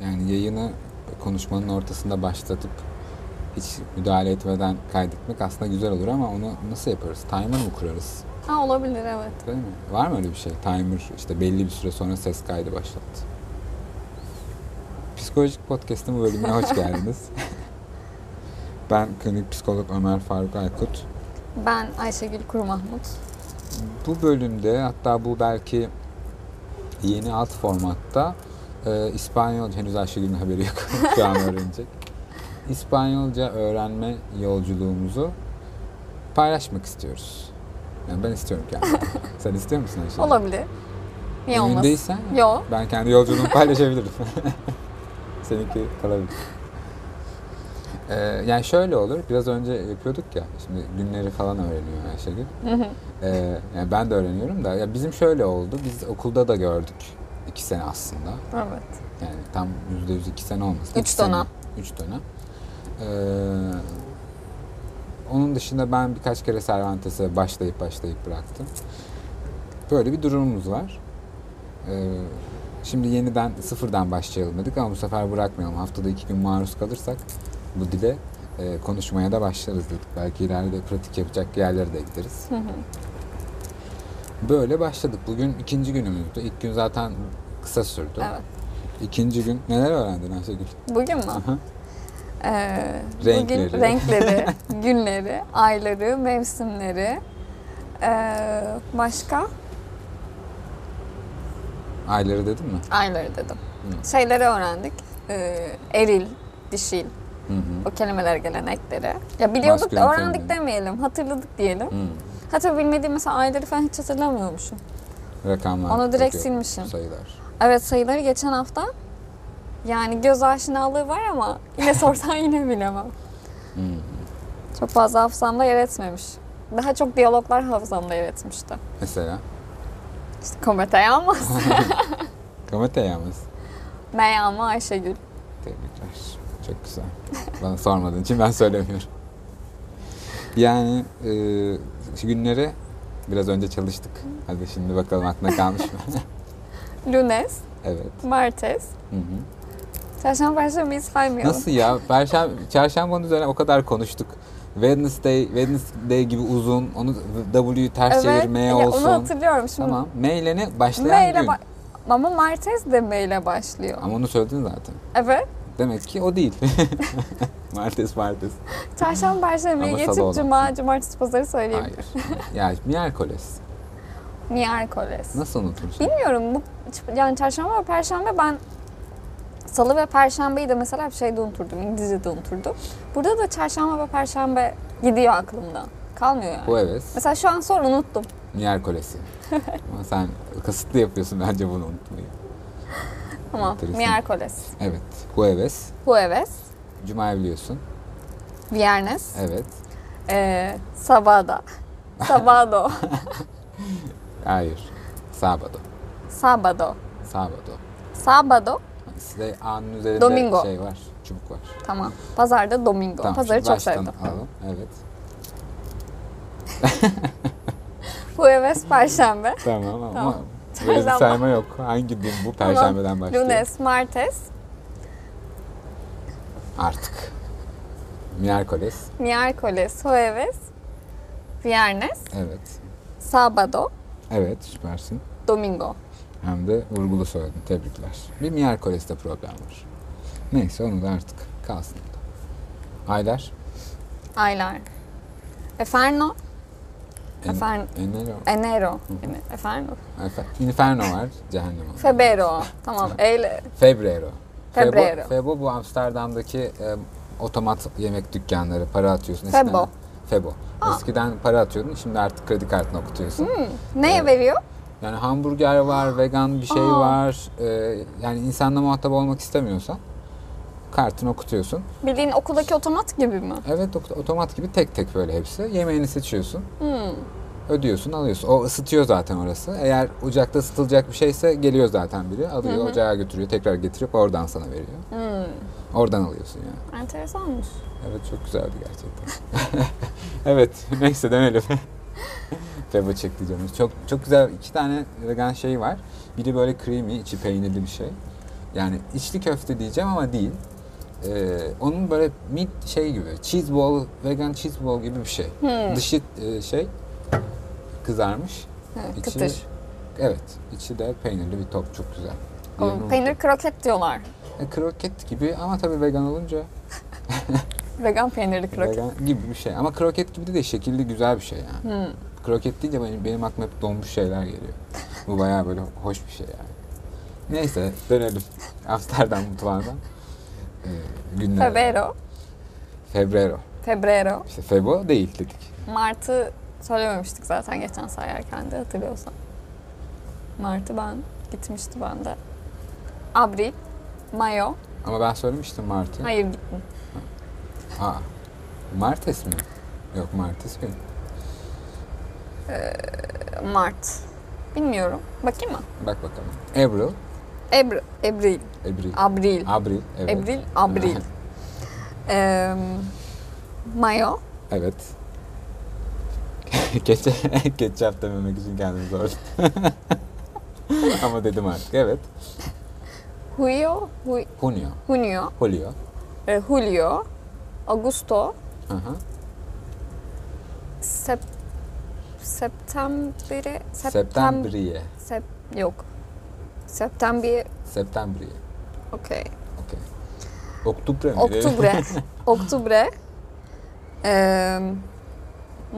Yani yayını konuşmanın ortasında başlatıp hiç müdahale etmeden kaydetmek aslında güzel olur ama onu nasıl yaparız? Timer mı kurarız? Ha olabilir evet. Değil mi? Var mı öyle bir şey? Timer işte belli bir süre sonra ses kaydı başlat. Psikolojik Podcast'ın bu bölümüne hoş geldiniz. ben klinik psikolog Ömer Faruk Aykut. Ben Ayşegül Kuru Mahmut. Bu bölümde hatta bu belki yeni alt formatta e, İspanyol henüz Ayşegül'ün haberi yok şu an öğrenecek. İspanyolca öğrenme yolculuğumuzu paylaşmak istiyoruz. Yani ben istiyorum kendim. Sen istiyor musun Ayşegül? Olabilir. Niye Emin olmaz? değilsen Yo. ben kendi yolculuğumu paylaşabilirim. Seninki kalabilir. Ee, yani şöyle olur. Biraz önce yapıyorduk ya. Şimdi günleri falan öğreniyor Ayşegül. Hı hı. Ee, yani ben de öğreniyorum da ya bizim şöyle oldu. Biz okulda da gördük iki sene aslında. evet. Yani tam yüzde yüz iki sene olmasın. Üç İki sene. dönem. Üç dönem. Ee, onun dışında ben birkaç kere Cervantes'e başlayıp başlayıp bıraktım. Böyle bir durumumuz var. Ee, şimdi yeniden sıfırdan başlayalım dedik ama bu sefer bırakmayalım. Haftada iki gün maruz kalırsak bu dile e, konuşmaya da başlarız dedik. Belki ileride pratik yapacak yerlere de gideriz. Hı hı. Böyle başladık. Bugün ikinci günümüzdü. İlk gün zaten kısa sürdü. evet. İkinci gün neler öğrendin Ayşegül? Bugün mü? Aha. Ee, Renkleri. Bugün renkleri, günleri, ayları, mevsimleri. Ee, başka? Ayları dedin mi? Ayları dedim. Hı. Şeyleri öğrendik. Ee, eril, dişil. Hı hı. O kelimeler gelenekleri. Ya biliyorduk da Maskülen, öğrendik feminen. demeyelim. Hatırladık diyelim. Hı. Hatta bilmediğim mesela ayları falan hiç hatırlamıyormuşum. Rakamlar. Onu direkt yok, silmişim. Sayılar. Evet sayıları geçen hafta yani göz aşinalığı var ama yine sorsan yine bilemem. Hı hı. Çok fazla hafızamda yer etmemiş. Daha çok diyaloglar hafızamda yer etmişti. Mesela. İşte Komet Ayağmaz, Komete yalnız. Meyama Ayşegül. Tebrikler. Çok güzel. Bana sormadığın için ben söylemiyorum. Yani e, şu günlere biraz önce çalıştık. Hadi şimdi bakalım aklına kalmış mı? Lunes, evet. Martes. Hı hı. Çarşamba Perşembe'yi saymayalım. Nasıl ya? Perşembe, çarşambanın üzerine o kadar konuştuk. Wednesday, Wednesday gibi uzun. Onu W'yu ters Evet, çevir, M ya olsun. onu hatırlıyorum şimdi. Tamam. M ile ne? Başlayan Meyle gün. ba- ama Martes de meyle başlıyor. Ama onu söyledin zaten. Evet. Demek ki o değil. martes martes. Çarşamba Perşembe'yi Ama geçip sabah Cuma, Cumartesi, Pazarı söyleyebilirim. Hayır. ya miércoles. Miércoles. Nasıl unutmuşum? Bilmiyorum bu yani çarşamba ve perşembe ben salı ve perşembeyi de mesela bir şeyde unuturdum. İngilizce'de unuturdum. Burada da çarşamba ve perşembe gidiyor aklımdan. Kalmıyor yani. Jueves. Mesela şu an sonra unuttum. Miércoles'i. Ama sen kasıtlı yapıyorsun bence bunu unutmayı. Ama Enteresan. miércoles, Evet. Jueves. jueves, Cuma biliyorsun. viernes, Evet. eee sabada, sabado, Hayır. Sabado. sabado, Sabado. sabado. Hani Size A'nın üzerinde Domingo. şey var. Çubuk var. Tamam. Pazarda domingo. Tamam, Pazarı şimdi çok baştan sevdim. Alalım. Evet. Jueves, perşembe, Tamam ama Tamam. böyle bir Çarşamba. sayma yok. Hangi gün bu? Perşembeden başlıyor. lunes, martes, Artık. Miércoles. miércoles, jueves, viernes, Evet. sabado, Evet süpersin. domingo. Hem de vurgulu söyledin. Tebrikler. Bir Miyerkoles'te problem var. Neyse onu da artık kalsın. Aylar. Aylar. Eferno. En, Efendim? Enero. Enero. Eferno. Efe- Inferno var. Cehennem var. Febrero. Tamam. Eyle. Febrero. Febo- Febrero. Febo bu Amsterdam'daki e, otomat yemek dükkanları. Para atıyorsun. Eskiden- Febo. Febo. Eskiden para atıyordun. Şimdi artık kredi kartına okutuyorsun. Neye veriyor? Yani hamburger var, vegan bir şey Hmm. Aa. var. E, yani insanla muhatap olmak istemiyorsan kartını okutuyorsun. Bildiğin okuldaki otomat gibi mi? Evet ot- otomat gibi tek tek böyle hepsi. Yemeğini seçiyorsun. Hmm. Ödüyorsun alıyorsun. O ısıtıyor zaten orası. Eğer ocakta ısıtılacak bir şeyse geliyor zaten biri. Alıyor ocağa götürüyor. Tekrar getirip oradan sana veriyor. Hmm. Oradan alıyorsun yani. Enteresanmış. Evet çok güzeldi gerçekten. evet neyse dönelim. Febo çekti canım. Çok, çok güzel iki tane vegan şey var. Biri böyle creamy içi peynirli bir şey. Yani içli köfte diyeceğim ama değil. Ee, onun böyle mid şey gibi, cheese ball, vegan cheese ball gibi bir şey. Hmm. Dışı e, şey kızarmış. Evet, içi- kıtır. Evet, içi de peynirli bir top çok güzel. O Yanılmıyor. peynir kroket diyorlar. E, kroket gibi ama tabii vegan olunca Vegan peynirli kroket. vegan gibi bir şey. Ama kroket gibi de, de şekilli güzel bir şey yani. Hmm. Kroket deyince benim, benim aklıma hep donmuş şeyler geliyor. Bu bayağı böyle hoş bir şey yani. Neyse dönelim Amsterdam mutfağına. E, günlere. Febrero. Febrero. Febrero. İşte Febo değil dedik. Mart'ı söylememiştik zaten geçen sayarken de hatırlıyorsan. Mart'ı ben gitmişti bende. Abril. Mayo. Ama ben söylemiştim Mart'ı. Hayır gittim. Aa, Martes mi? Yok Martes gün. Mart. Bilmiyorum. Bakayım mı? Bak bakalım. April. Ebr Ebril. April. Abril. Abril. Evet. Ebril. Abril. Eee mayo. Evet. Geçe, ketçap dememek için kendimi zorladım. Ama dedim artık. Evet. Huyo. Huy, Junio. junio. Julio. e, Julio, Augusto, Hı hı. sep, Septembre, Septem, Septembriye. sep, yok. Septembre, Septembriye. okey. Okey. Oktubre mi? Oktubre, Oktubre, em,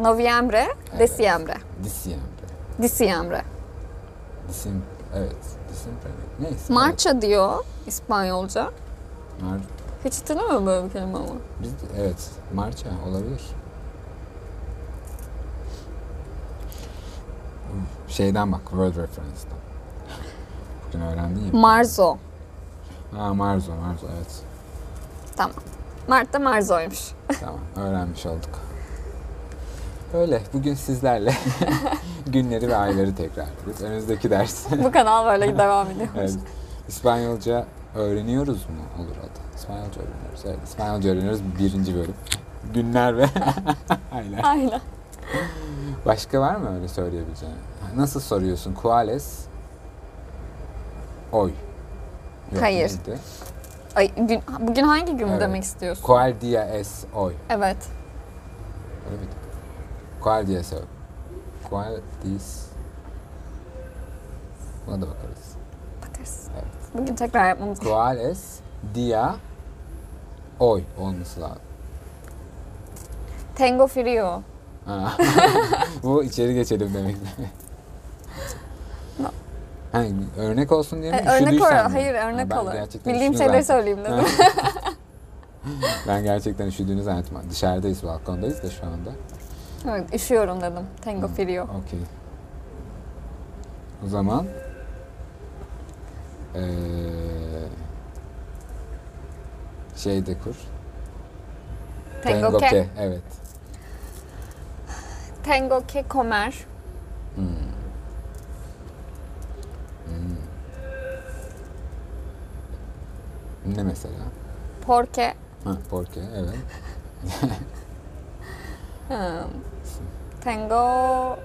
Noviembre, Evet. Desiembre, Disiembre. Disiembre. Disim... Evet. Disimbre mi? Neyse. Marcha diyor İspanyolca. Evet. Mar... Hiç hatırlamıyorum böyle bir kelime ama. Biz de- evet, Marça olabilir. Şeyden bak, World Reference'dan. Bugün öğrendin ya. Marzo, Ha, Marzo, Marzo evet. tamam. Mart'ta Marzo'ymuş. Tamam, öğrenmiş olduk. Öyle, bugün sizlerle günleri ve ayları tekrarlıyoruz. Önümüzdeki ders. Bu kanal böyle devam ediyor. Evet. İspanyolca öğreniyoruz mu? Olur adı. İspanyolca öğreniyoruz. Evet, İspanyolca öğreniyoruz. Birinci bölüm. Günler ve aylar. Aynen. Başka var mı öyle söyleyebileceğin? Ha, Nasıl soruyorsun? Kuales oy. Yok, Hayır. neydi? Ay, gün, bugün hangi gün mü Evet. demek istiyorsun? Cual dia es oy. Evet. Öyle bir Cual dia es oy. Cual dis... Buna da bakarız. Bakarız. Evet. Bugün tekrar yapmamız Cual es dia oy olması lazım. Tango Frio. Ha. Bu içeri geçelim demek. No. Hani örnek olsun diye mi? E, örnek Üşüdüysen olarak. mi? Hayır Ha, örnek ben olarak. gerçekten Bildiğim üşüdüm şeyleri zaten. söyleyeyim dedim. Ben gerçekten üşüdüğünü zannetmiyorum. Dışarıdayız, balkondayız da şu anda. evet, üşüyorum dedim. Tango Frio. Okey. O zaman... Ee, şey de kur. Tango ke. Evet. Tango ke komer. Ne mesela? Porque. Ha, porque, evet. ım, Tango.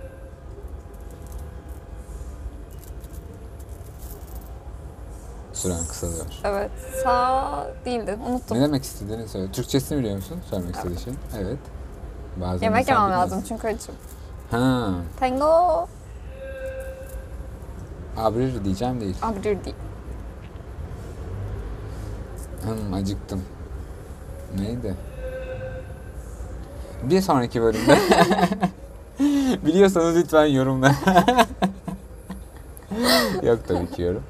Süren kısalıyor. Evet. Sa değildi. Unuttum. Ne demek istediğini söyle. Türkçesini biliyor musun? Söylemek istediğin şey. Evet. Bazen Yemek insan yemem bilmez. lazım çünkü açım. Ha, Tango. abrir diyeceğim değil. Abdür değil. Hmm, acıktım. Neydi? Bir sonraki bölümde. Biliyorsanız lütfen yorumla. Yok tabii ki yorum.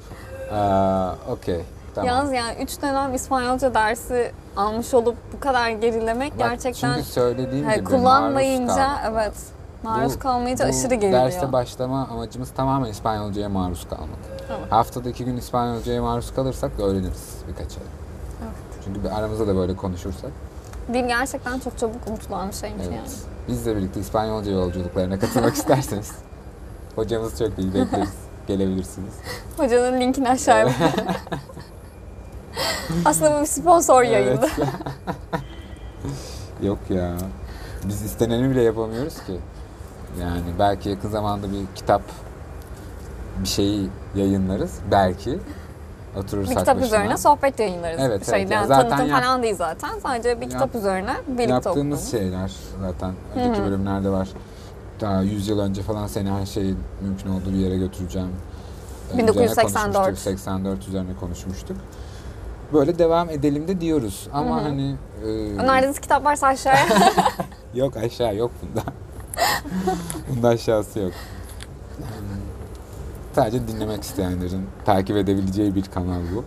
Aa, Okey. Tamam. Yalnız yani 3 dönem İspanyolca dersi almış olup bu kadar gerilemek Bak, gerçekten Çünkü söylediğim he, gibi maruz kullanmayınca kalmak. evet maruz Bu- kalmayınca bu aşırı geriliyor. Derste başlama amacımız tamamen İspanyolcaya maruz kalmak. Tamam. Haftada iki gün İspanyolcaya maruz kalırsak da öğreniriz birkaç ay. Evet. Çünkü bir- aramızda da böyle konuşursak. Dil gerçekten çok çabuk unutulan bir şeymiş Evet. yani. Bizle birlikte İspanyolca yolculuklarına katılmak isterseniz. Hocamız çok iyi bekleriz. Gelebilirsiniz. Hocanın linkini aşağıya bırakıyorum. Aslında bu bir sponsor yayını. Evet. Yok ya. Biz isteneni bile yapamıyoruz ki. Yani belki yakın zamanda bir kitap bir şeyi yayınlarız. Belki. oturursak Bir kitap başına. üzerine sohbet yayınlarız. Evet, evet. şey, Ya yani zaten tanıtım yap- falan değil zaten. Sadece bir Yap- kitap üzerine birlikte Yaptığımız okuduk. şeyler zaten önceki bölümlerde var. Daha 100 yıl önce falan seni her şeyi mümkün olduğu bir yere götüreceğim. e, Üzerine 1984. konuşmuştuk, 84 üzerine konuşmuştuk. Böyle devam edelim de diyoruz. Ama hani... e, Önerdiğiniz kitap varsa aşağıya. Yok aşağı yok bunda. bunda aşağısı yok. Hmm. Sadece dinlemek isteyenlerin takip edebileceği bir kanal bu.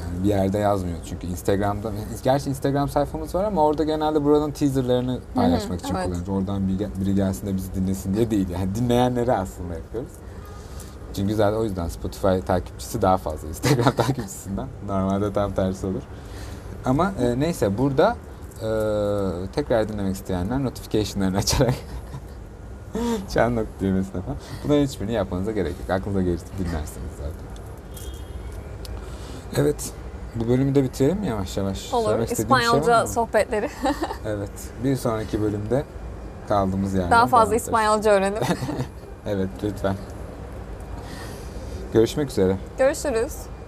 Yani bir yerde yazmıyor çünkü Instagram'da. Gerçi Instagram sayfamız var ama orada genelde buranın teaserlarını paylaşmak için evet. kullanıyoruz. Oradan biri, biri gelsin de bizi dinlesin diye değil. Yani dinleyenleri aslında yapıyoruz. Çünkü zaten o yüzden Spotify takipçisi daha fazla Instagram takipçisinden. Normalde tam tersi olur. Ama e, neyse burada e, tekrar dinlemek isteyenler notification'larını açarak çan nok düğmesine falan. Bunların hiçbirini yapmanıza gerek yok. Aklınıza gelirse dinlersiniz zaten. Evet. Bu bölümü de bitirelim mi yavaş yavaş? Olur. Söylemek istediğim bir şey var İspanyolca mı? sohbetleri. Evet. Bir sonraki bölümde kaldığımız yerden Daha fazla devam ederiz. İspanyolca öğrenip. Evet lütfen. Görüşmek üzere. Görüşürüz.